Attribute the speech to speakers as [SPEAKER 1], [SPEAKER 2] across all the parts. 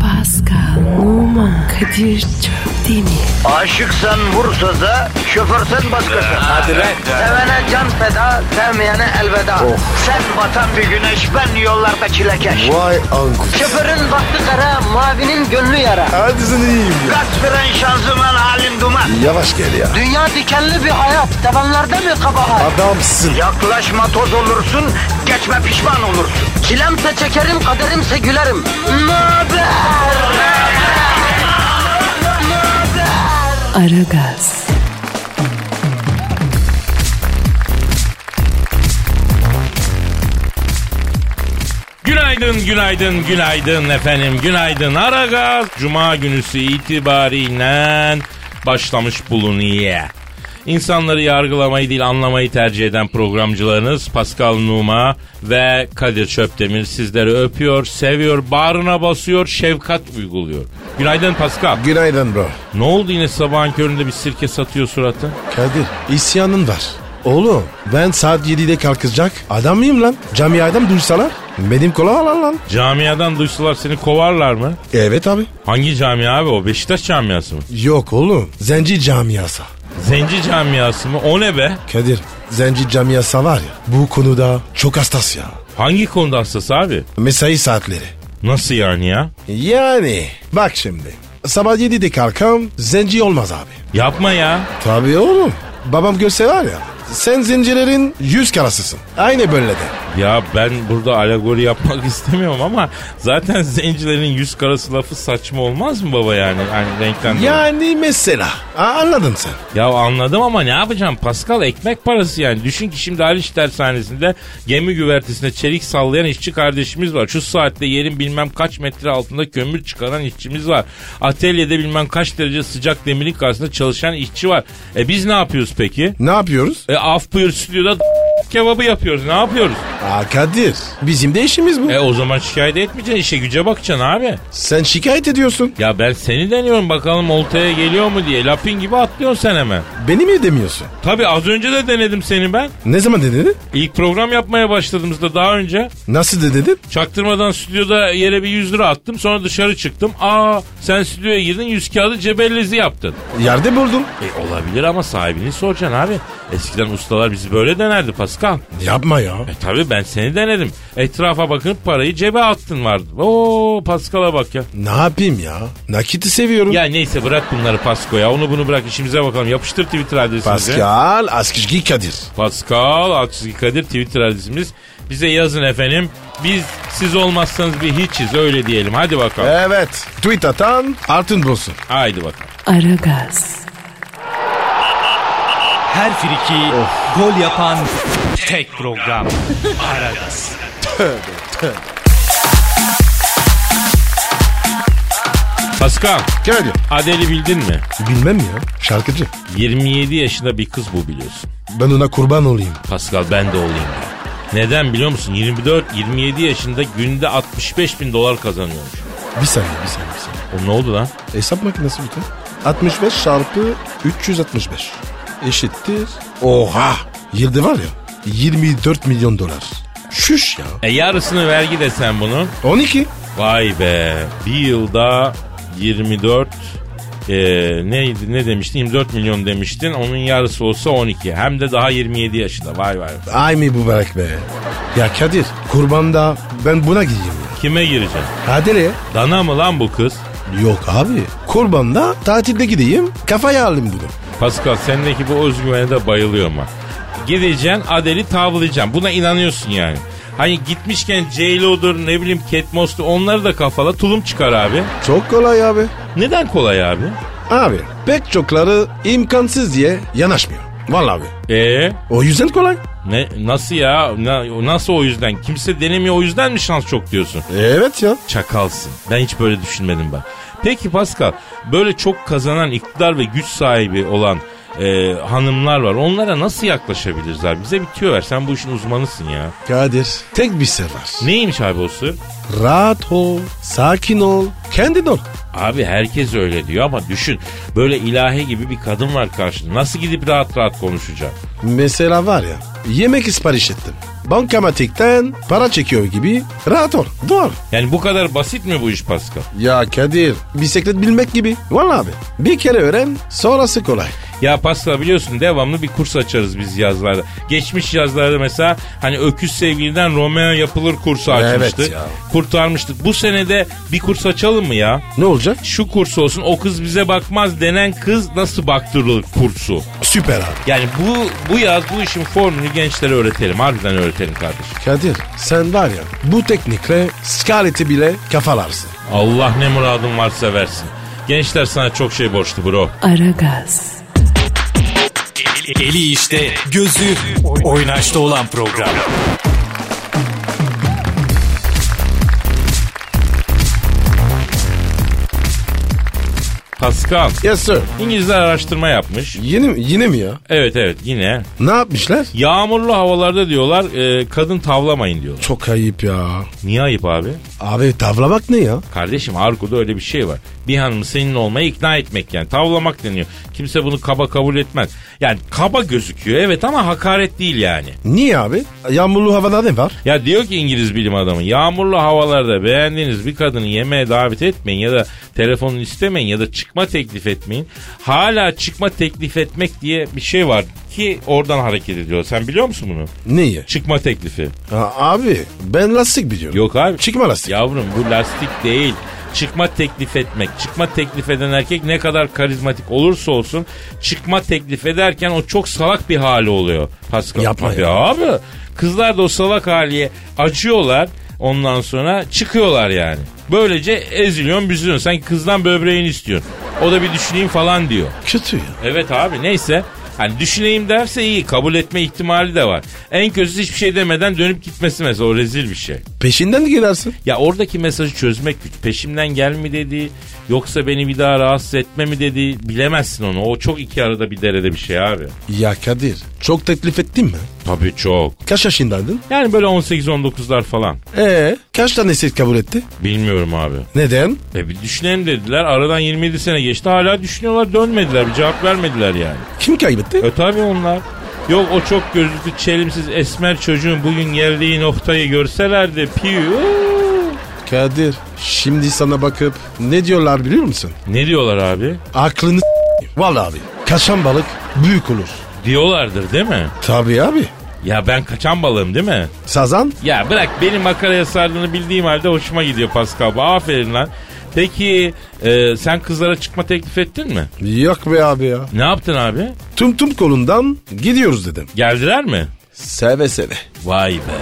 [SPEAKER 1] Pascal, Oman, Kadir çok değil mi?
[SPEAKER 2] Aşıksan vursa da şoförsen başkasın. Hadi
[SPEAKER 3] lan.
[SPEAKER 2] Sevene can feda, sevmeyene elveda. Sen batan bir güneş, ben yollarda çilekeş.
[SPEAKER 3] Vay anku.
[SPEAKER 2] Şoförün baktı kara, mavinin gönlü yara.
[SPEAKER 3] Hadi sen iyiyim ya.
[SPEAKER 2] Kasperen şanzıman halin duman.
[SPEAKER 3] Yavaş gel ya.
[SPEAKER 2] Dünya dikenli bir hayat, sevenlerde mi kabahar?
[SPEAKER 3] Adamsın.
[SPEAKER 2] Yaklaşma toz olursun, geçme pişman olursun. Çilemse çekerim, kaderimse gülerim. Möber!
[SPEAKER 1] Aragaz,
[SPEAKER 4] Günaydın, günaydın, günaydın efendim. Günaydın Aragaz. Cuma günüsü itibariyle başlamış bulunuyor. İnsanları yargılamayı değil anlamayı tercih eden programcılarınız Pascal Numa ve Kadir Çöptemir sizleri öpüyor, seviyor, bağrına basıyor, şefkat uyguluyor. Günaydın Pascal.
[SPEAKER 3] Günaydın bro.
[SPEAKER 4] Ne oldu yine sabahın köründe bir sirke satıyor suratı?
[SPEAKER 3] Kadir isyanın var. Oğlum ben saat 7'de kalkacak adam mıyım lan? Camiadan duysalar benim kola alan lan.
[SPEAKER 4] Camiadan duysalar seni kovarlar mı?
[SPEAKER 3] Evet abi.
[SPEAKER 4] Hangi camia abi o? Beşiktaş camiası mı?
[SPEAKER 3] Yok oğlum zenci camiası.
[SPEAKER 4] Zenci camiası mı? O ne be?
[SPEAKER 3] Kadir zenci camiası var ya bu konuda çok hassas ya.
[SPEAKER 4] Hangi konuda hassas abi?
[SPEAKER 3] Mesai saatleri.
[SPEAKER 4] Nasıl yani ya?
[SPEAKER 3] Yani bak şimdi sabah 7'de kalkam zenci olmaz abi.
[SPEAKER 4] Yapma ya.
[SPEAKER 3] Tabii oğlum. Babam görse var ya. Sen zincirlerin yüz karasısın. Aynı böyle de.
[SPEAKER 4] Ya ben burada alegori yapmak istemiyorum ama zaten zencilerin yüz karası lafı saçma olmaz mı baba yani? Hani renkten dolayı.
[SPEAKER 3] Yani mesela. A- anladın sen.
[SPEAKER 4] Ya anladım ama ne yapacağım Pascal ekmek parası yani. Düşün ki şimdi Haliç dershanesinde gemi güvertesinde çelik sallayan işçi kardeşimiz var. Şu saatte yerin bilmem kaç metre altında kömür çıkaran işçimiz var. Atölyede bilmem kaç derece sıcak demirin karşısında çalışan işçi var. E biz ne yapıyoruz peki?
[SPEAKER 3] Ne yapıyoruz?
[SPEAKER 4] E af buyur stüdyoda kebabı yapıyoruz. Ne yapıyoruz?
[SPEAKER 3] Aa Kadir. Bizim de işimiz bu.
[SPEAKER 4] E o zaman şikayet etmeyeceksin işe güce bakacaksın abi.
[SPEAKER 3] Sen şikayet ediyorsun.
[SPEAKER 4] Ya ben seni deniyorum bakalım oltaya geliyor mu diye. Lapin gibi atlıyorsun sen hemen.
[SPEAKER 3] Beni mi demiyorsun?
[SPEAKER 4] Tabi az önce de denedim seni ben.
[SPEAKER 3] Ne zaman dedin?
[SPEAKER 4] İlk program yapmaya başladığımızda daha önce
[SPEAKER 3] Nasıl de dedin?
[SPEAKER 4] çaktırmadan stüdyoda yere bir 100 lira attım. Sonra dışarı çıktım. Aa sen stüdyoya girdin 100 kağıdı cebellezi yaptın.
[SPEAKER 3] Yerde buldum.
[SPEAKER 4] E olabilir ama sahibini soracaksın abi. Eskiden ustalar bizi böyle denerdi Pascal.
[SPEAKER 3] Yapma ya.
[SPEAKER 4] E tabi ben seni denedim. Etrafa bakıp parayı cebe attın vardı. Oo Pascal'a bak ya.
[SPEAKER 3] Ne yapayım ya? Nakiti seviyorum.
[SPEAKER 4] Ya neyse bırak bunları Pasko ya. Onu bunu bırak işimize bakalım. Yapıştır Twitter adresimizi.
[SPEAKER 3] Pascal Askışgi Kadir.
[SPEAKER 4] Pascal Askizgi Kadir Twitter adresimiz. Bize yazın efendim. Biz siz olmazsanız bir hiçiz öyle diyelim. Hadi bakalım.
[SPEAKER 3] Evet. Tweet atan altın bulsun.
[SPEAKER 4] Haydi bakalım.
[SPEAKER 1] Aragaz,
[SPEAKER 5] Her friki gol yapan tek program.
[SPEAKER 4] Pascal
[SPEAKER 3] Kadir.
[SPEAKER 4] Adeli bildin mi?
[SPEAKER 3] Bilmem ya. Şarkıcı.
[SPEAKER 4] 27 yaşında bir kız bu biliyorsun.
[SPEAKER 3] Ben ona kurban olayım.
[SPEAKER 4] Pascal ben de olayım ben. Neden biliyor musun? 24-27 yaşında günde 65 bin dolar kazanıyormuş.
[SPEAKER 3] Bir saniye bir saniye bir saniye.
[SPEAKER 4] O ne oldu lan?
[SPEAKER 3] Hesap makinesi bütün. 65 çarpı 365 eşittir. Oha! Yılda var ya 24 milyon dolar. Şuş ya.
[SPEAKER 4] E yarısını vergi desen bunun.
[SPEAKER 3] 12.
[SPEAKER 4] Vay be. Bir yılda 24 e, neydi ne demiştin 24 milyon demiştin onun yarısı olsa 12 hem de daha 27 yaşında vay vay
[SPEAKER 3] Ay mı bu berek be? Ya Kadir kurbanda ben buna gideyim ya.
[SPEAKER 4] kime gireceksin
[SPEAKER 3] Adele.
[SPEAKER 4] dana mı lan bu kız
[SPEAKER 3] Yok abi. Kurbanda tatilde gideyim kafaya alayım bunu.
[SPEAKER 4] Pascal sendeki bu özgüvene de bayılıyorum ha gideceksin Adeli tavlayacaksın buna inanıyorsun yani hani gitmişken J-Lo'dur ne bileyim Cat Moss'tur onları da kafala tulum çıkar abi
[SPEAKER 3] Çok kolay abi.
[SPEAKER 4] neden kolay abi
[SPEAKER 3] Abi pek çokları imkansız diye yanaşmıyor. Vallahi abi.
[SPEAKER 4] eee
[SPEAKER 3] O yüzden kolay.
[SPEAKER 4] Ee, ne, nasıl ya Na- nasıl o yüzden kimse denemiyor o yüzden mi şans çok diyorsun
[SPEAKER 3] Evet ya.
[SPEAKER 4] Çakalsın. Ben hiç böyle düşünmedim ben. Peki Pascal, böyle çok kazanan iktidar ve güç sahibi olan e, hanımlar var. Onlara nasıl yaklaşabiliriz abi? Bize bir tüyo ver. Sen bu işin uzmanısın ya.
[SPEAKER 3] Kadir tek bir sır var.
[SPEAKER 4] Neymiş abi o sır?
[SPEAKER 3] Rahat ol, sakin ol, Kendin ol.
[SPEAKER 4] Abi herkes öyle diyor ama düşün. Böyle ilahi gibi bir kadın var karşında. Nasıl gidip rahat rahat konuşacak?
[SPEAKER 3] Mesela var ya yemek sipariş ettim. Bankamatikten para çekiyor gibi rahat ol. Doğru.
[SPEAKER 4] Yani bu kadar basit mi bu iş Pascal?
[SPEAKER 3] Ya Kadir bisiklet bilmek gibi. Vallahi abi bir kere öğren sonrası kolay.
[SPEAKER 4] Ya Pascal biliyorsun devamlı bir kurs açarız biz yazlarda. Geçmiş yazlarda mesela hani öküz sevgiliden Romeo yapılır kursu
[SPEAKER 3] Evet
[SPEAKER 4] açmıştık.
[SPEAKER 3] ya.
[SPEAKER 4] Kurtarmıştık. Bu senede bir kurs açalım mı ya?
[SPEAKER 3] Ne olacak?
[SPEAKER 4] Şu kurs olsun o kız bize bakmaz denen kız nasıl baktırılır kursu.
[SPEAKER 3] Süper abi.
[SPEAKER 4] Yani bu bu yaz bu işin formülü gençlere öğretelim. Harbiden öğretelim kardeşim.
[SPEAKER 3] Kadir sen var ya bu teknikle Scarlett'i bile kafalarsın.
[SPEAKER 4] Allah ne muradın varsa versin. Gençler sana çok şey borçlu bro.
[SPEAKER 1] Aragaz,
[SPEAKER 5] Eli işte, gözü oynaşta olan program.
[SPEAKER 4] Pascal,
[SPEAKER 3] Yes sir.
[SPEAKER 4] İngilizler araştırma yapmış.
[SPEAKER 3] Yine, mi- yine mi ya?
[SPEAKER 4] Evet evet yine.
[SPEAKER 3] Ne yapmışlar?
[SPEAKER 4] Yağmurlu havalarda diyorlar e, kadın tavlamayın diyorlar.
[SPEAKER 3] Çok ayıp ya.
[SPEAKER 4] Niye ayıp abi?
[SPEAKER 3] Abi tavlamak ne ya?
[SPEAKER 4] Kardeşim Argo'da öyle bir şey var. Bir hanımı senin olmaya ikna etmek yani. Tavlamak deniyor. Kimse bunu kaba kabul etmez. Yani kaba gözüküyor evet ama hakaret değil yani.
[SPEAKER 3] Niye abi? Yağmurlu havada ne var?
[SPEAKER 4] Ya diyor ki İngiliz bilim adamı yağmurlu havalarda beğendiğiniz bir kadını yemeğe davet etmeyin ya da telefonunu istemeyin ya da çıkma teklif etmeyin. Hala çıkma teklif etmek diye bir şey var ki oradan hareket ediyor. Sen biliyor musun bunu?
[SPEAKER 3] Niye?
[SPEAKER 4] Çıkma teklifi.
[SPEAKER 3] Ha, abi ben lastik biliyorum.
[SPEAKER 4] Yok abi.
[SPEAKER 3] Çıkma lastik.
[SPEAKER 4] Yavrum bu lastik değil. Çıkma teklif etmek. Çıkma teklif eden erkek ne kadar karizmatik olursa olsun çıkma teklif ederken o çok salak bir hali oluyor. Pascal.
[SPEAKER 3] Yapma
[SPEAKER 4] Tabii
[SPEAKER 3] ya.
[SPEAKER 4] Abi kızlar da o salak haliye acıyorlar ondan sonra çıkıyorlar yani. Böylece eziliyorsun büzülüyorsun. Sanki kızdan böbreğini istiyorsun. O da bir düşüneyim falan diyor.
[SPEAKER 3] Kötü ya.
[SPEAKER 4] Evet abi neyse. Hani düşüneyim derse iyi kabul etme ihtimali de var. En kötüsü hiçbir şey demeden dönüp gitmesi mesela o rezil bir şey.
[SPEAKER 3] Peşinden de gidersin.
[SPEAKER 4] Ya oradaki mesajı çözmek güç. Peşimden gel mi dedi yoksa beni bir daha rahatsız etme mi dedi bilemezsin onu. O çok iki arada bir derede bir şey abi.
[SPEAKER 3] Ya Kadir çok teklif ettin mi?
[SPEAKER 4] Tabii çok.
[SPEAKER 3] Kaç yaşındaydın?
[SPEAKER 4] Yani böyle 18-19'lar falan.
[SPEAKER 3] Ee, kaç tanesi kabul etti?
[SPEAKER 4] Bilmiyorum abi.
[SPEAKER 3] Neden?
[SPEAKER 4] E bir düşünelim dediler. Aradan 27 sene geçti. Hala düşünüyorlar dönmediler. Bir cevap vermediler yani.
[SPEAKER 3] Kim kaybetti?
[SPEAKER 4] E tabii onlar. Yok o çok gözlüklü çelimsiz esmer çocuğun bugün geldiği noktayı görselerdi. Piyu.
[SPEAKER 3] Kadir şimdi sana bakıp ne diyorlar biliyor musun?
[SPEAKER 4] Ne diyorlar abi?
[SPEAKER 3] Aklını s- Vallahi abi kaçan balık büyük olur.
[SPEAKER 4] Diyorlardır değil mi?
[SPEAKER 3] Tabii abi.
[SPEAKER 4] Ya ben kaçan balığım değil mi?
[SPEAKER 3] Sazan
[SPEAKER 4] Ya bırak benim makaraya sardığını bildiğim halde hoşuma gidiyor Pascal. Aferin lan. Peki e, sen kızlara çıkma teklif ettin mi?
[SPEAKER 3] yok be abi ya.
[SPEAKER 4] Ne yaptın abi?
[SPEAKER 3] Tüm tüm kolundan gidiyoruz dedim.
[SPEAKER 4] Geldiler mi?
[SPEAKER 3] Seve seve.
[SPEAKER 4] Vay be.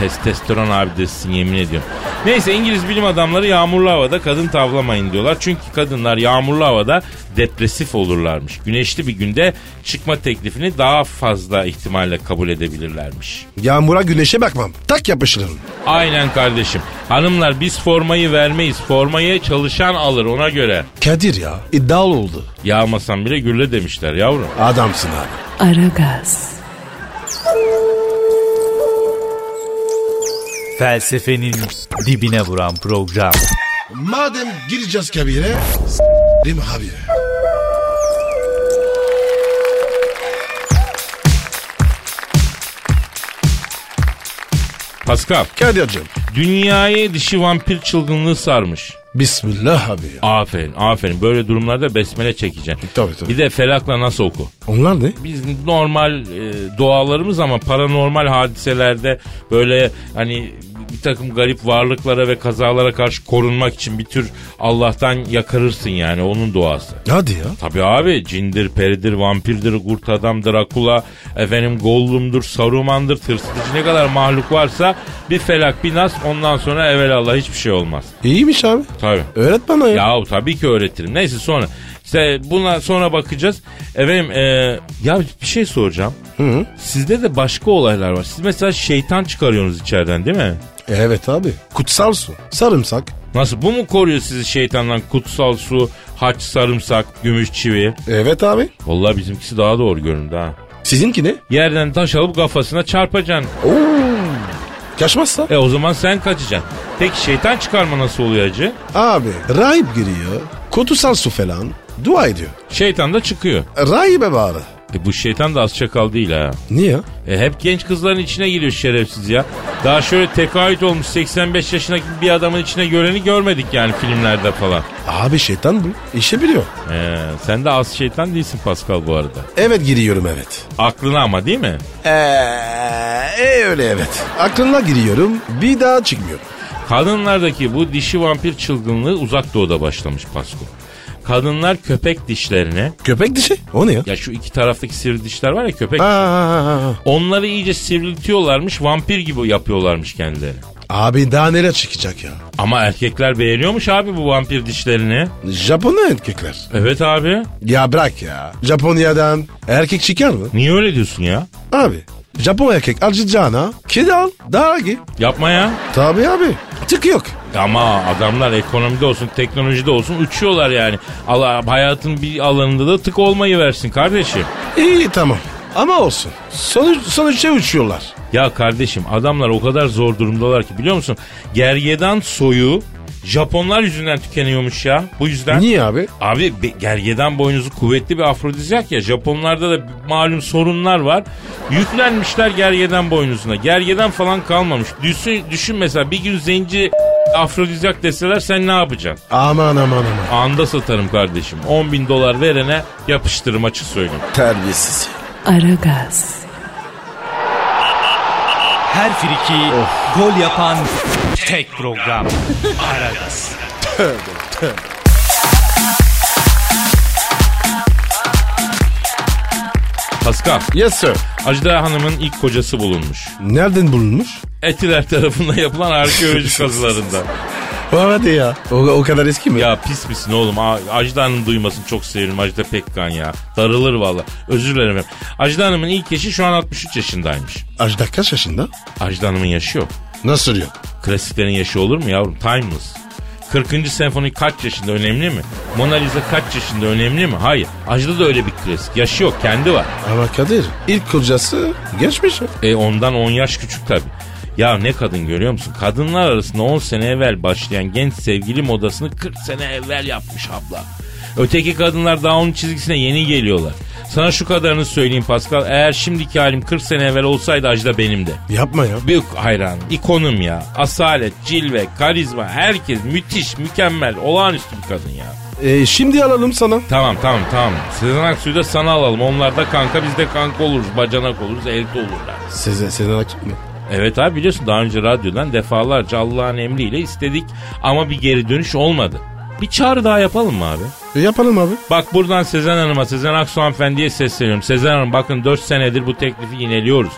[SPEAKER 4] Testosteron abidesisin yemin ediyorum. Neyse İngiliz bilim adamları yağmurlu havada kadın tavlamayın diyorlar. Çünkü kadınlar yağmurlu havada depresif olurlarmış. Güneşli bir günde çıkma teklifini daha fazla ihtimalle kabul edebilirlermiş.
[SPEAKER 3] Yağmura güneşe bakmam. Tak yapışırım.
[SPEAKER 4] Aynen kardeşim. Hanımlar biz formayı vermeyiz. Formayı çalışan alır ona göre.
[SPEAKER 3] Kadir ya iddialı oldu.
[SPEAKER 4] Yağmasan bile gülle demişler yavrum.
[SPEAKER 3] Adamsın abi.
[SPEAKER 1] Aragaz,
[SPEAKER 5] Felsefenin dibine vuran program.
[SPEAKER 3] Madem gireceğiz kabire s**rim abi.
[SPEAKER 4] Pascal,
[SPEAKER 3] Kadir'cim.
[SPEAKER 4] dünyayı dişi vampir çılgınlığı sarmış.
[SPEAKER 3] Bismillah abi ya.
[SPEAKER 4] Aferin, aferin. Böyle durumlarda besmele çekeceksin.
[SPEAKER 3] E, Tabii, tabii.
[SPEAKER 4] Bir de felakla nasıl oku?
[SPEAKER 3] Onlar ne?
[SPEAKER 4] Biz normal e, doğalarımız ama paranormal hadiselerde böyle hani bir takım garip varlıklara ve kazalara karşı korunmak için bir tür Allah'tan yakarırsın yani onun doğası.
[SPEAKER 3] Hadi ya.
[SPEAKER 4] Tabii abi cindir, peridir, vampirdir, kurt adam, Drakula, efendim Gollum'dur, Saruman'dır, tırsıtıcı ne kadar mahluk varsa bir felak bir nas ondan sonra evvelallah hiçbir şey olmaz.
[SPEAKER 3] İyiymiş abi.
[SPEAKER 4] Tabii.
[SPEAKER 3] Öğret bana ya.
[SPEAKER 4] Yahu tabii ki öğretirim. Neyse sonra. İşte buna sonra bakacağız. Efendim e, ya bir şey soracağım. Sizde de başka olaylar var. Siz mesela şeytan çıkarıyorsunuz içeriden değil mi?
[SPEAKER 3] Evet abi. Kutsal su. Sarımsak.
[SPEAKER 4] Nasıl bu mu koruyor sizi şeytandan? Kutsal su, haç, sarımsak, gümüş çivi.
[SPEAKER 3] Evet abi.
[SPEAKER 4] Vallahi bizimkisi daha doğru göründü ha.
[SPEAKER 3] Sizinki ne?
[SPEAKER 4] Yerden taş alıp kafasına çarpacaksın.
[SPEAKER 3] Oo. Kaçmazsa?
[SPEAKER 4] E o zaman sen kaçacaksın. Peki şeytan çıkarma nasıl oluyor acı?
[SPEAKER 3] Abi rahip giriyor. Kutusal su falan. Dua ediyor.
[SPEAKER 4] Şeytan da çıkıyor.
[SPEAKER 3] Rahibe bağırı.
[SPEAKER 4] E bu şeytan da az çakal değil ha.
[SPEAKER 3] Niye?
[SPEAKER 4] E hep genç kızların içine giriyor şerefsiz ya. Daha şöyle tekaüt olmuş 85 yaşındaki bir adamın içine göreni görmedik yani filmlerde falan.
[SPEAKER 3] Abi şeytan bu. İşi biliyor.
[SPEAKER 4] E, sen de az şeytan değilsin Pascal bu arada.
[SPEAKER 3] Evet giriyorum evet.
[SPEAKER 4] Aklına ama değil mi?
[SPEAKER 3] Eee öyle evet. Aklına giriyorum bir daha çıkmıyor.
[SPEAKER 4] Kadınlardaki bu dişi vampir çılgınlığı uzak doğuda başlamış Pasko. Kadınlar köpek dişlerine,
[SPEAKER 3] Köpek dişi? O ne ya?
[SPEAKER 4] ya şu iki taraftaki sivri dişler var ya köpek,
[SPEAKER 3] Aa,
[SPEAKER 4] onları iyice sivriltiyorlarmış, vampir gibi yapıyorlarmış kendileri.
[SPEAKER 3] abi daha nereye çıkacak ya?
[SPEAKER 4] Ama erkekler beğeniyormuş abi bu vampir dişlerini.
[SPEAKER 3] Japonya erkekler.
[SPEAKER 4] Evet abi.
[SPEAKER 3] Ya bırak ya. Japonya'dan erkek çıkar mı?
[SPEAKER 4] Niye öyle diyorsun ya?
[SPEAKER 3] Abi Japon erkek acıcağına kedi al daha iyi.
[SPEAKER 4] Yapma ya.
[SPEAKER 3] Tabii abi tık yok.
[SPEAKER 4] Ama adamlar ekonomide olsun, teknolojide olsun uçuyorlar yani. Allah hayatın bir alanında da tık olmayı versin kardeşim.
[SPEAKER 3] İyi tamam ama olsun. Sonuç, sonuçta uçuyorlar.
[SPEAKER 4] Ya kardeşim adamlar o kadar zor durumdalar ki biliyor musun? Gergedan soyu Japonlar yüzünden tükeniyormuş ya. Bu yüzden.
[SPEAKER 3] Niye abi?
[SPEAKER 4] Abi be- gergedan boynuzu kuvvetli bir afrodizyak ya. Japonlarda da malum sorunlar var. Yüklenmişler gergedan boynuzuna. Gergedan falan kalmamış. Düşün, düşün mesela bir gün zenci afrodizyak deseler sen ne yapacaksın?
[SPEAKER 3] Aman aman aman.
[SPEAKER 4] Anda satarım kardeşim. 10 bin dolar verene yapıştırırım açık söyleyeyim.
[SPEAKER 3] Terbiyesiz.
[SPEAKER 1] Aragaz,
[SPEAKER 5] Her friki gol yapan tek program. Aragaz.
[SPEAKER 4] Pascal,
[SPEAKER 3] Yes sir.
[SPEAKER 4] Ajda Hanım'ın ilk kocası bulunmuş.
[SPEAKER 3] Nereden bulunmuş?
[SPEAKER 4] Etiler tarafından yapılan arkeoloji kazılarında.
[SPEAKER 3] Hadi ya. O, o kadar eski mi?
[SPEAKER 4] Ya pis misin oğlum? A- Ajda Hanım duymasın çok seviyorum Ajda Pekkan ya. Darılır valla. Özür dilerim. efendim. Ajda Hanım'ın ilk eşi şu an 63 yaşındaymış.
[SPEAKER 3] Ajda kaç yaşında?
[SPEAKER 4] Ajda Hanım'ın yaşı yok.
[SPEAKER 3] Nasıl yok?
[SPEAKER 4] Klasiklerin yaşı olur mu yavrum? Timeless. 40. senfoni kaç yaşında önemli mi? Mona Lisa kaç yaşında önemli mi? Hayır. Ajda da öyle bir klasik. Yaşı yok kendi var.
[SPEAKER 3] Ama Kadir ilk kocası geçmiş.
[SPEAKER 4] E ondan 10 yaş küçük tabii. Ya ne kadın görüyor musun? Kadınlar arasında 10 sene evvel başlayan genç sevgili modasını 40 sene evvel yapmış abla. Öteki kadınlar daha onun çizgisine yeni geliyorlar. Sana şu kadarını söyleyeyim Pascal. Eğer şimdiki halim 40 sene evvel olsaydı Ajda benimdi.
[SPEAKER 3] Yapma ya.
[SPEAKER 4] Büyük hayran, ikonum ya. Asalet, cilve, karizma, herkes müthiş, mükemmel, olağanüstü bir kadın ya.
[SPEAKER 3] E, şimdi alalım sana.
[SPEAKER 4] Tamam tamam tamam. Sezen Aksu'yu da sana alalım. Onlar da kanka biz de kanka oluruz. Bacanak oluruz, elde olurlar.
[SPEAKER 3] Sezen, Sezen Aksu mu?
[SPEAKER 4] Evet abi biliyorsun daha önce radyodan defalarca Allah'ın emriyle istedik ama bir geri dönüş olmadı. Bir çağrı daha yapalım mı abi?
[SPEAKER 3] E, yapalım abi.
[SPEAKER 4] Bak buradan Sezen Hanım'a, Sezen Aksu hanımefendiye sesleniyorum. Sezen Hanım bakın 4 senedir bu teklifi yineliyoruz.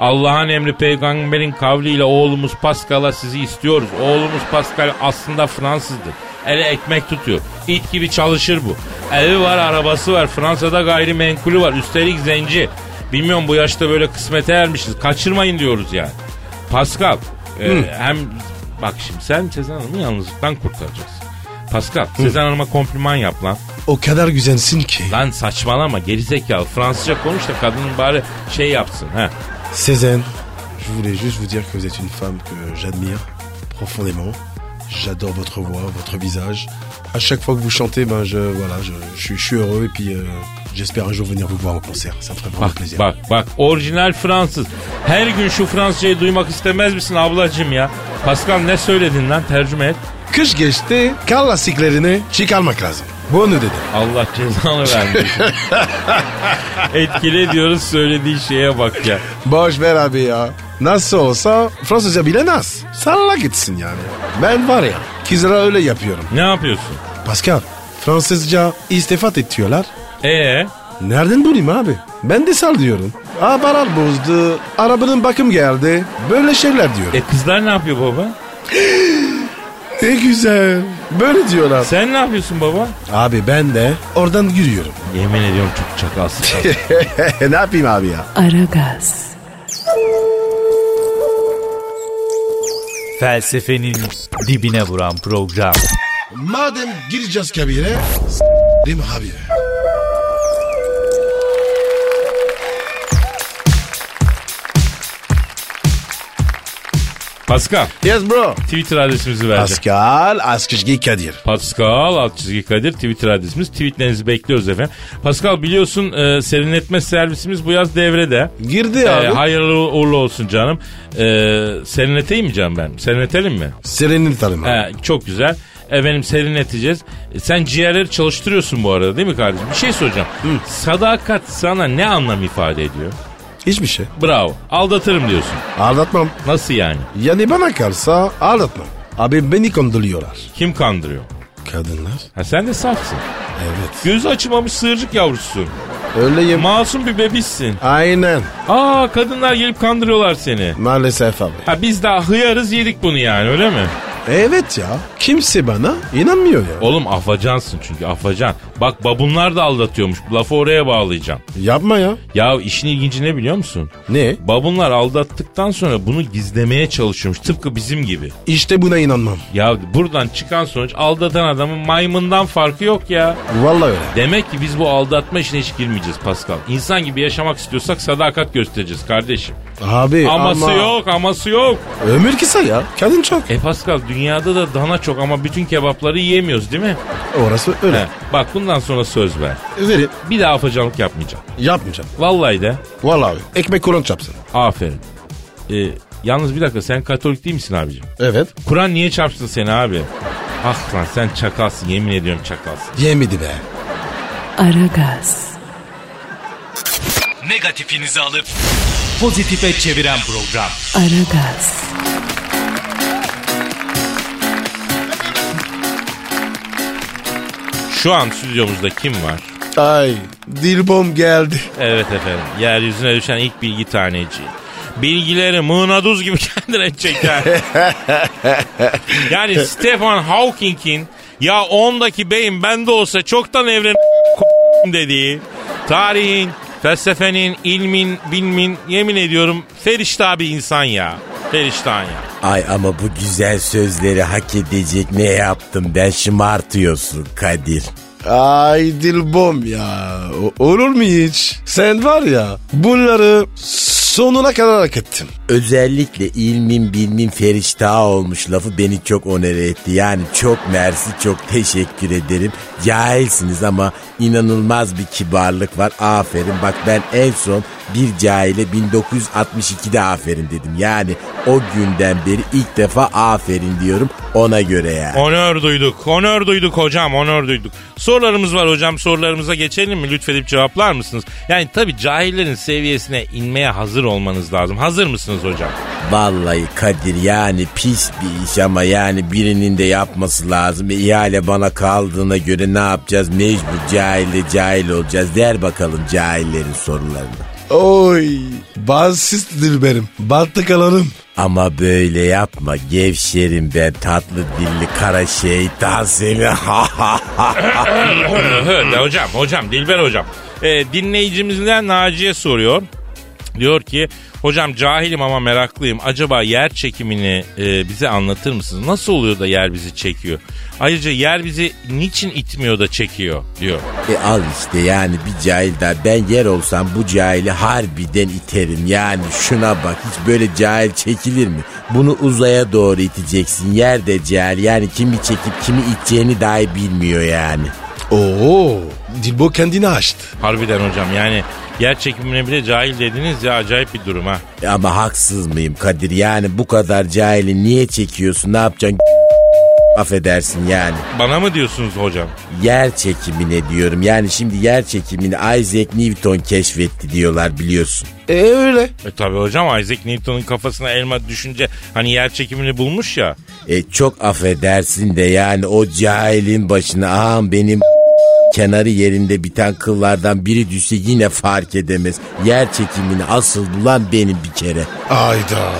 [SPEAKER 4] Allah'ın emri peygamberin kavliyle oğlumuz Pascal'a sizi istiyoruz. Oğlumuz Pascal aslında Fransızdır. Ele ekmek tutuyor. İt gibi çalışır bu. Evi var, arabası var. Fransa'da gayrimenkulü var. Üstelik zenci. Bilmiyorum bu yaşta böyle kısmete ermişiz. Kaçırmayın diyoruz yani. Pascal, e, hem bak şimdi sen Sezen Hanım'ı yalnızlıktan kurtaracaksın. Pascal, Sezen Hanım'a kompliman yap lan.
[SPEAKER 3] O kadar güzelsin ki.
[SPEAKER 4] Lan saçmalama gerizekalı. Fransızca konuş da kadının bari şey yapsın. ha.
[SPEAKER 3] Sezen, je voulais juste vous dire que vous êtes une femme que j'admire profondément. J'adore votre voix, votre visage. À chaque fois que vous chantez, ben je, voilà, je, je suis, je suis heureux et puis euh, j'espère un jour venir vous voir au concert. Ça me ferait vraiment
[SPEAKER 4] Bak
[SPEAKER 3] plaisir.
[SPEAKER 4] bak bak orijinal Fransız. Her gün şu Fransızcayı duymak istemez misin ablacığım ya? Pascal ne söyledin lan tercüme et.
[SPEAKER 3] Kış geçti, kar lastiklerini çıkarmak lazım. Bunu dedim.
[SPEAKER 4] Allah cezanı vermesin. Etkile diyoruz söylediği şeye bak ya.
[SPEAKER 3] Boş ver abi ya. Nasıl olsa Fransızca bile nasıl? Salla gitsin yani. Ben var ya, kızlara öyle yapıyorum.
[SPEAKER 4] Ne yapıyorsun?
[SPEAKER 3] Pascal, Fransızca istifat ediyorlar.
[SPEAKER 4] Ee
[SPEAKER 3] Nereden bulayım abi? Ben de sal diyorum. Abalar bozdu, arabanın bakım geldi. Böyle şeyler diyorum.
[SPEAKER 4] e kızlar ne yapıyor baba?
[SPEAKER 3] ne güzel. Böyle diyorlar.
[SPEAKER 4] Sen ne yapıyorsun baba?
[SPEAKER 3] Abi ben de oradan yürüyorum.
[SPEAKER 4] Yemin ediyorum çok çakalsın.
[SPEAKER 3] ne yapayım abi ya?
[SPEAKER 1] Aragaz,
[SPEAKER 5] Felsefenin dibine vuran program.
[SPEAKER 3] Madem gireceğiz kabire, s***im abi.
[SPEAKER 4] Pascal
[SPEAKER 3] Yes bro.
[SPEAKER 4] Twitter adresimizi verdi.
[SPEAKER 3] Pascal Askışgi Kadir.
[SPEAKER 4] Pascal alt çizgi Kadir Twitter adresimiz. Tweetlerinizi bekliyoruz efendim. Pascal biliyorsun e, serinletme servisimiz bu yaz devrede.
[SPEAKER 3] Girdi
[SPEAKER 4] E,
[SPEAKER 3] abi.
[SPEAKER 4] hayırlı uğurlu olsun canım. E, serinleteyim mi canım ben? Serinletelim mi?
[SPEAKER 3] Serenini tanım abi.
[SPEAKER 4] He, çok güzel. Efendim serinleteceğiz. E, sen ciğerleri çalıştırıyorsun bu arada değil mi kardeşim? Bir şey soracağım. Sadakat sana ne anlam ifade ediyor?
[SPEAKER 3] Hiçbir şey.
[SPEAKER 4] Bravo. Aldatırım diyorsun.
[SPEAKER 3] Aldatmam.
[SPEAKER 4] Nasıl yani?
[SPEAKER 3] Yani bana kalsa aldatmam. Abi beni kandırıyorlar.
[SPEAKER 4] Kim kandırıyor?
[SPEAKER 3] Kadınlar?
[SPEAKER 4] Ha, sen de safsın.
[SPEAKER 3] Evet.
[SPEAKER 4] Gözü açılmamış sığırcık yavrususun.
[SPEAKER 3] Öyleyim.
[SPEAKER 4] Masum bir bebişsin.
[SPEAKER 3] Aynen.
[SPEAKER 4] Aa kadınlar gelip kandırıyorlar seni.
[SPEAKER 3] Maalesef abi.
[SPEAKER 4] Ha biz daha hıyarız yedik bunu yani öyle mi?
[SPEAKER 3] Evet ya. Kimse bana inanmıyor ya.
[SPEAKER 4] Oğlum afacansın çünkü afacan. Bak babunlar da aldatıyormuş. Lafı oraya bağlayacağım.
[SPEAKER 3] Yapma ya.
[SPEAKER 4] Ya işin ilginci ne biliyor musun?
[SPEAKER 3] Ne?
[SPEAKER 4] Babunlar aldattıktan sonra bunu gizlemeye çalışıyormuş. Tıpkı bizim gibi.
[SPEAKER 3] İşte buna inanmam.
[SPEAKER 4] Ya buradan çıkan sonuç aldatan adamın maymundan farkı yok ya.
[SPEAKER 3] Vallahi öyle.
[SPEAKER 4] Demek ki biz bu aldatma işine hiç girmeyeceğiz Pascal. İnsan gibi yaşamak istiyorsak sadakat göstereceğiz kardeşim.
[SPEAKER 3] Abi
[SPEAKER 4] Aması
[SPEAKER 3] E, ama...
[SPEAKER 4] yok, aması yok.
[SPEAKER 3] Ömür kısa ya. Kadın çok.
[SPEAKER 4] E Pascal dünyada da dana çok ama bütün kebapları yiyemiyoruz değil mi?
[SPEAKER 3] Orası öyle.
[SPEAKER 4] He, bak bundan sonra söz ver.
[SPEAKER 3] Verin.
[SPEAKER 4] Bir daha afacanlık yapmayacağım.
[SPEAKER 3] Yapmayacağım.
[SPEAKER 4] Vallahi de
[SPEAKER 3] Vallahi abi. Ekmek kuran çapsın.
[SPEAKER 4] aferin. E, yalnız bir dakika sen Katolik değil misin abicim?
[SPEAKER 3] Evet.
[SPEAKER 4] Kur'an niye çarpsın seni abi? Ah lan sen çakalsın yemin ediyorum çakalsın.
[SPEAKER 3] Yemedi be.
[SPEAKER 1] Aragaz,
[SPEAKER 5] Negatifinizi alıp pozitife çeviren program.
[SPEAKER 1] Aragaz,
[SPEAKER 4] Şu an stüdyomuzda kim var?
[SPEAKER 3] Ay. Dilbom geldi.
[SPEAKER 4] Evet efendim. Yeryüzüne düşen ilk bilgi taneci. Bilgileri mığnaduz gibi kendine çeker. yani Stephen Hawking'in ya ondaki beyin bende olsa çoktan evren dediği tarihin, felsefenin, ilmin, bilmin yemin ediyorum ferişta bir insan ya. Feriştan ya.
[SPEAKER 6] Ay ama bu güzel sözleri hak edecek ne yaptım ben şımartıyorsun Kadir.
[SPEAKER 3] Ay Dilbom ya. O- olur mu hiç? Sen var ya bunları sonuna kadar hak ettin.
[SPEAKER 6] Özellikle ilmin bilmin ferişta olmuş lafı beni çok onere etti. Yani çok mersi çok teşekkür ederim. Cahilsiniz ama inanılmaz bir kibarlık var. Aferin bak ben en son bir cahile 1962'de aferin dedim. Yani o günden beri ilk defa aferin diyorum ona göre yani.
[SPEAKER 4] Onör duyduk, onör duyduk hocam, onör duyduk. Sorularımız var hocam, sorularımıza geçelim mi? Lütfedip cevaplar mısınız? Yani tabii cahillerin seviyesine inmeye hazır olmanız lazım. Hazır mısınız hocam?
[SPEAKER 6] Vallahi Kadir yani pis bir iş ama yani birinin de yapması lazım. E, ihale bana kaldığına göre ne yapacağız? Mecbur cahille cahil olacağız. Der bakalım cahillerin sorularını.
[SPEAKER 3] Oy. Bazsız Dilberim. Battı kalanım.
[SPEAKER 6] Ama böyle yapma gevşerim ben tatlı dilli kara şeytan seni.
[SPEAKER 4] Öyle hocam, hocam, Dilber hocam. Ee, dinleyicimizden Naciye soruyor. Diyor ki, hocam cahilim ama meraklıyım. Acaba yer çekimini e, bize anlatır mısınız? Nasıl oluyor da yer bizi çekiyor? Ayrıca yer bizi niçin itmiyor da çekiyor diyor.
[SPEAKER 6] E al işte yani bir cahil daha. Ben yer olsam bu cahili harbiden iterim. Yani şuna bak hiç böyle cahil çekilir mi? Bunu uzaya doğru iteceksin. Yer de cahil. Yani kimi çekip kimi iteceğini dahi bilmiyor yani.
[SPEAKER 3] Oo. Dilbo kendini açtı.
[SPEAKER 4] Harbiden hocam yani yer çekimine bile cahil dediniz ya acayip bir durum ha.
[SPEAKER 6] E Ama haksız mıyım Kadir? Yani bu kadar cahili niye çekiyorsun? Ne yapacaksın? Affedersin yani.
[SPEAKER 4] Bana mı diyorsunuz hocam?
[SPEAKER 6] Yer çekimine diyorum. Yani şimdi yer çekimini Isaac Newton keşfetti diyorlar biliyorsun.
[SPEAKER 3] E öyle.
[SPEAKER 4] E tabi hocam Isaac Newton'un kafasına elma düşünce hani yer çekimini bulmuş ya.
[SPEAKER 6] E, çok affedersin de yani o cahilin başına ağam benim kenarı yerinde biten kıllardan biri düşse yine fark edemez. Yer çekimini asıl bulan benim bir kere.
[SPEAKER 3] Ayda.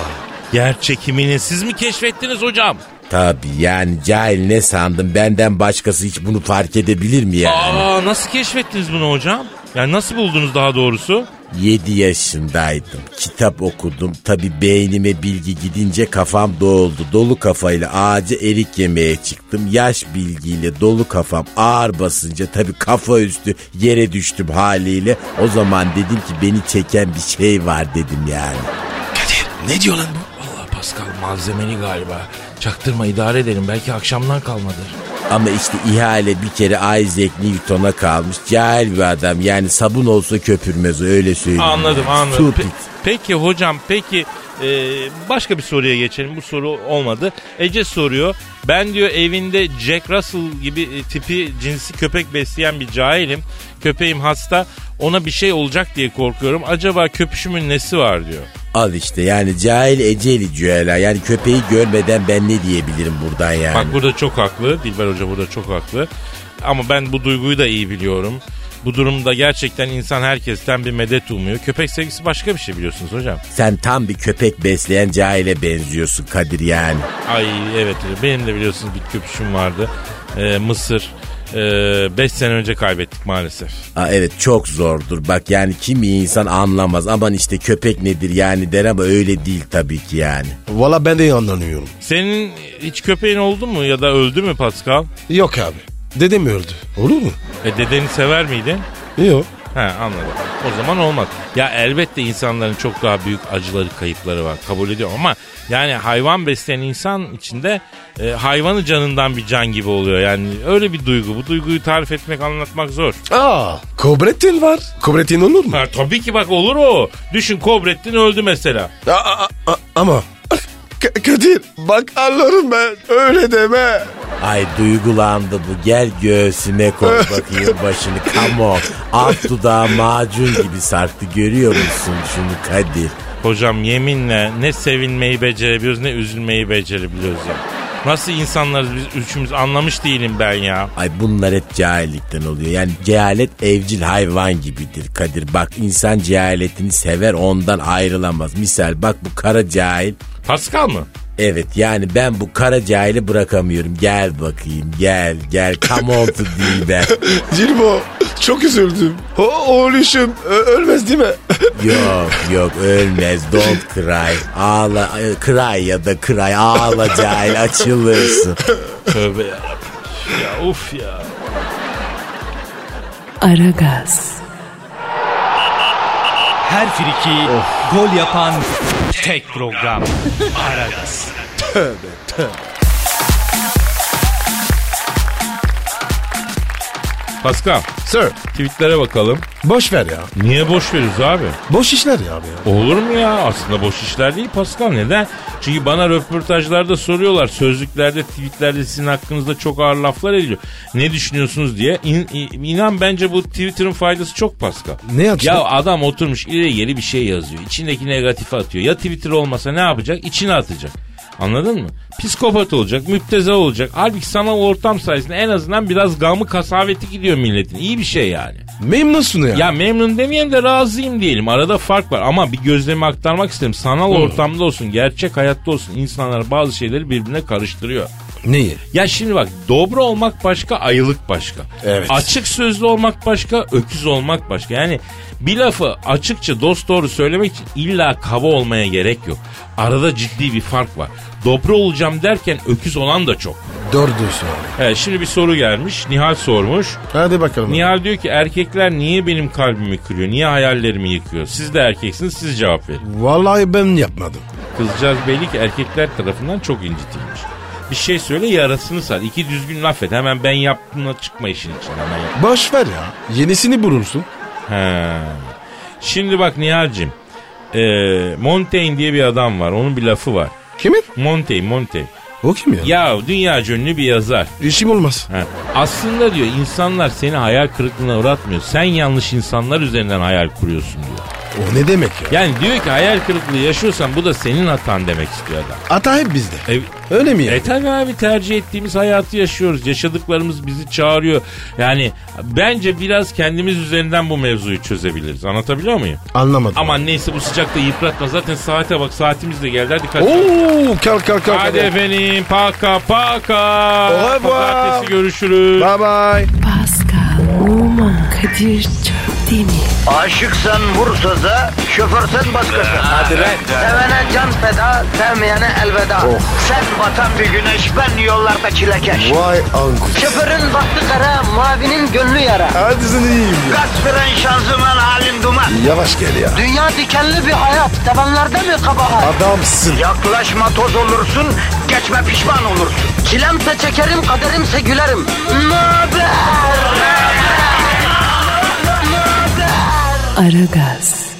[SPEAKER 4] Yer çekimini siz mi keşfettiniz hocam?
[SPEAKER 6] Tabi yani cahil ne sandın benden başkası hiç bunu fark edebilir mi yani?
[SPEAKER 4] Aa nasıl keşfettiniz bunu hocam? Yani nasıl buldunuz daha doğrusu?
[SPEAKER 6] 7 yaşındaydım. Kitap okudum. Tabi beynime bilgi gidince kafam doğuldu. Dolu kafayla ağaca erik yemeye çıktım. Yaş bilgiyle dolu kafam ağır basınca tabi kafa üstü yere düştüm haliyle. O zaman dedim ki beni çeken bir şey var dedim yani.
[SPEAKER 3] Ne diyor lan bu?
[SPEAKER 4] Valla Pascal malzemeli galiba. Çaktırma idare edelim belki akşamdan kalmadır.
[SPEAKER 6] Ama işte ihale bir kere Isaac Newton'a kalmış. Cahil bir adam. Yani sabun olsa köpürmez o, öyle söyleyeyim.
[SPEAKER 4] Anladım
[SPEAKER 6] Yani.
[SPEAKER 4] anladım.
[SPEAKER 6] Stupid.
[SPEAKER 4] Pe- peki hocam peki e, başka bir soruya geçelim. Bu soru olmadı. Ece soruyor. Ben diyor evinde Jack Russell gibi e, tipi cinsi köpek besleyen bir cahilim. Köpeğim hasta. Ona bir şey olacak diye korkuyorum. Acaba köpüşümün nesi var diyor.
[SPEAKER 6] Al işte yani cahil eceli cüela. Yani köpeği görmeden ben ne diyebilirim buradan yani.
[SPEAKER 4] Bak burada çok haklı. Dilber Hoca burada çok haklı. Ama ben bu duyguyu da iyi biliyorum. Bu durumda gerçekten insan herkesten bir medet umuyor. Köpek sevgisi başka bir şey biliyorsunuz hocam.
[SPEAKER 6] Sen tam bir köpek besleyen cahile benziyorsun Kadir yani.
[SPEAKER 4] Ay evet benim de biliyorsunuz bir köpüşüm vardı. Ee, Mısır. 5 sene önce kaybettik maalesef.
[SPEAKER 6] Aa, evet çok zordur bak yani kimi insan anlamaz. Aman işte köpek nedir yani der ama öyle değil tabii ki yani.
[SPEAKER 3] Valla ben de anlamıyorum.
[SPEAKER 4] Senin hiç köpeğin oldu mu ya da öldü mü Pascal?
[SPEAKER 3] Yok abi. Dedem öldü. Olur mu?
[SPEAKER 4] E, dedeni sever miydin?
[SPEAKER 3] Yok.
[SPEAKER 4] He anladım. O zaman olmaz. Ya elbette insanların çok daha büyük acıları, kayıpları var. Kabul ediyorum ama yani hayvan besleyen insan içinde e, hayvanı canından bir can gibi oluyor. Yani öyle bir duygu. Bu duyguyu tarif etmek, anlatmak zor.
[SPEAKER 3] Aa, kobretin var. Kobretin olur mu?
[SPEAKER 4] Ha, tabii ki bak olur o. Düşün Kobrettin öldü mesela.
[SPEAKER 3] Aa, aa, aa, ama. K- Kadir bak anlarım ben. Öyle deme.
[SPEAKER 6] Ay duygulandı bu. Gel göğsüne koy bakayım başını. Come on. Alt dudağı macun gibi sarktı. Görüyor musun şunu Kadir?
[SPEAKER 4] Hocam yeminle ne sevinmeyi becerebiliyoruz ne üzülmeyi becerebiliyoruz ya. Nasıl insanlarız biz üçümüz anlamış değilim ben ya.
[SPEAKER 6] Ay bunlar hep cahillikten oluyor. Yani cehalet evcil hayvan gibidir Kadir. Bak insan cehaletini sever ondan ayrılamaz. Misal bak bu kara cahil.
[SPEAKER 4] Pascal mı?
[SPEAKER 6] Evet yani ben bu kara cahili bırakamıyorum. Gel bakayım gel gel. Come on to Dilber.
[SPEAKER 3] Cilbo çok üzüldüm. O oğluşum ö- ölmez değil mi?
[SPEAKER 6] Yok yok ölmez don't cry. Ağla e, cry ya da cry ağla cahil açılırsın.
[SPEAKER 4] Tövbe ya. Ya uf ya.
[SPEAKER 1] Aragaz,
[SPEAKER 5] Her friki gol yapan tek program. Aragaz.
[SPEAKER 4] Pascal
[SPEAKER 3] Sir
[SPEAKER 4] tweetlere bakalım.
[SPEAKER 3] boş ver ya.
[SPEAKER 4] Niye boş veriyoruz abi?
[SPEAKER 3] Boş işler ya abi ya.
[SPEAKER 4] Olur mu ya? Aslında boş işler değil Pascal. Neden? Çünkü bana röportajlarda soruyorlar. Sözlüklerde, tweetlerde sizin hakkınızda çok ağır laflar ediliyor. Ne düşünüyorsunuz diye. İn, in- inan bence bu Twitter'ın faydası çok Pascal.
[SPEAKER 3] Ne yapacak?
[SPEAKER 4] Ya adam oturmuş ileri geri bir şey yazıyor. İçindeki negatifi atıyor. Ya Twitter olmasa ne yapacak? İçine atacak. Anladın mı? Psikopat olacak, müptezel olacak. Halbuki sanal ortam sayesinde en azından biraz gamı kasaveti gidiyor milletin. İyi bir şey yani.
[SPEAKER 3] Memnunsun ya.
[SPEAKER 4] Ya memnun demeyelim de razıyım diyelim. Arada fark var ama bir gözlemi aktarmak isterim. Sanal ortamda olsun, gerçek hayatta olsun insanlar bazı şeyleri birbirine karıştırıyor.
[SPEAKER 3] Neyi?
[SPEAKER 4] Ya şimdi bak dobra olmak başka, ayılık başka.
[SPEAKER 3] Evet.
[SPEAKER 4] Açık sözlü olmak başka, öküz olmak başka. Yani bir lafı açıkça dost doğru söylemek için illa kaba olmaya gerek yok. Arada ciddi bir fark var. Dobra olacağım derken öküz olan da çok.
[SPEAKER 3] Doğru diyorsun abi.
[SPEAKER 4] He, şimdi bir soru gelmiş. Nihal sormuş.
[SPEAKER 3] Hadi bakalım.
[SPEAKER 4] Nihal diyor ki erkekler niye benim kalbimi kırıyor? Niye hayallerimi yıkıyor? Siz de erkeksiniz siz cevap verin.
[SPEAKER 3] Vallahi ben yapmadım.
[SPEAKER 4] Kızcağız belli ki erkekler tarafından çok incitilmiş. Bir şey söyle yarasını sar. İki düzgün laf et. Hemen ben yaptığımla çıkma işin içinden. Hemen yap.
[SPEAKER 3] Boş ver ya. Yenisini bulursun.
[SPEAKER 4] He. Şimdi bak Nihal'cim. Ee, Montaigne diye bir adam var. Onun bir lafı var.
[SPEAKER 3] Kimin?
[SPEAKER 4] Montaigne, Montaigne.
[SPEAKER 3] O kim ya?
[SPEAKER 4] Ya dünya ünlü bir şey yazar.
[SPEAKER 3] İşim olmaz.
[SPEAKER 4] Ha. Aslında diyor insanlar seni hayal kırıklığına uğratmıyor. Sen yanlış insanlar üzerinden hayal kuruyorsun diyor.
[SPEAKER 3] O ne demek ya?
[SPEAKER 4] Yani diyor ki hayal kırıklığı yaşıyorsan bu da senin hatan demek istiyor adam.
[SPEAKER 3] Ata hep bizde.
[SPEAKER 4] E,
[SPEAKER 3] Öyle mi ya?
[SPEAKER 4] e tabii abi tercih ettiğimiz hayatı yaşıyoruz. Yaşadıklarımız bizi çağırıyor. Yani bence biraz kendimiz üzerinden bu mevzuyu çözebiliriz. Anlatabiliyor muyum?
[SPEAKER 3] Anlamadım.
[SPEAKER 4] Aman neyse bu sıcakta yıpratma. Zaten saate bak saatimiz de geldi. Hadi kaç.
[SPEAKER 3] Oo, kalk kalk kalk.
[SPEAKER 4] Hadi efendim paka paka.
[SPEAKER 3] Au revoir.
[SPEAKER 4] Pazartesi görüşürüz.
[SPEAKER 3] Bye bye.
[SPEAKER 1] Pascal, Oman, Kadir çok Değil mi?
[SPEAKER 2] Aşıksan vursa da, şoförsen başkasın. Hadi
[SPEAKER 5] lan.
[SPEAKER 2] Sevene can feda, sevmeyene elveda. Sen batan bir güneş, ben yollarda çilekeş.
[SPEAKER 3] Vay anku.
[SPEAKER 2] Şoförün baktı kara, mavinin gönlü yara.
[SPEAKER 3] Hadi sen iyiyim ya.
[SPEAKER 2] Kasperen şanzıman halin duman.
[SPEAKER 3] Yavaş gel ya.
[SPEAKER 2] Dünya dikenli bir hayat, sevenlerde mi kabahar?
[SPEAKER 3] Adamsın.
[SPEAKER 2] Yaklaşma toz olursun, geçme pişman olursun. Çilemse çekerim, kaderimse gülerim. Möber!
[SPEAKER 1] Aragaz.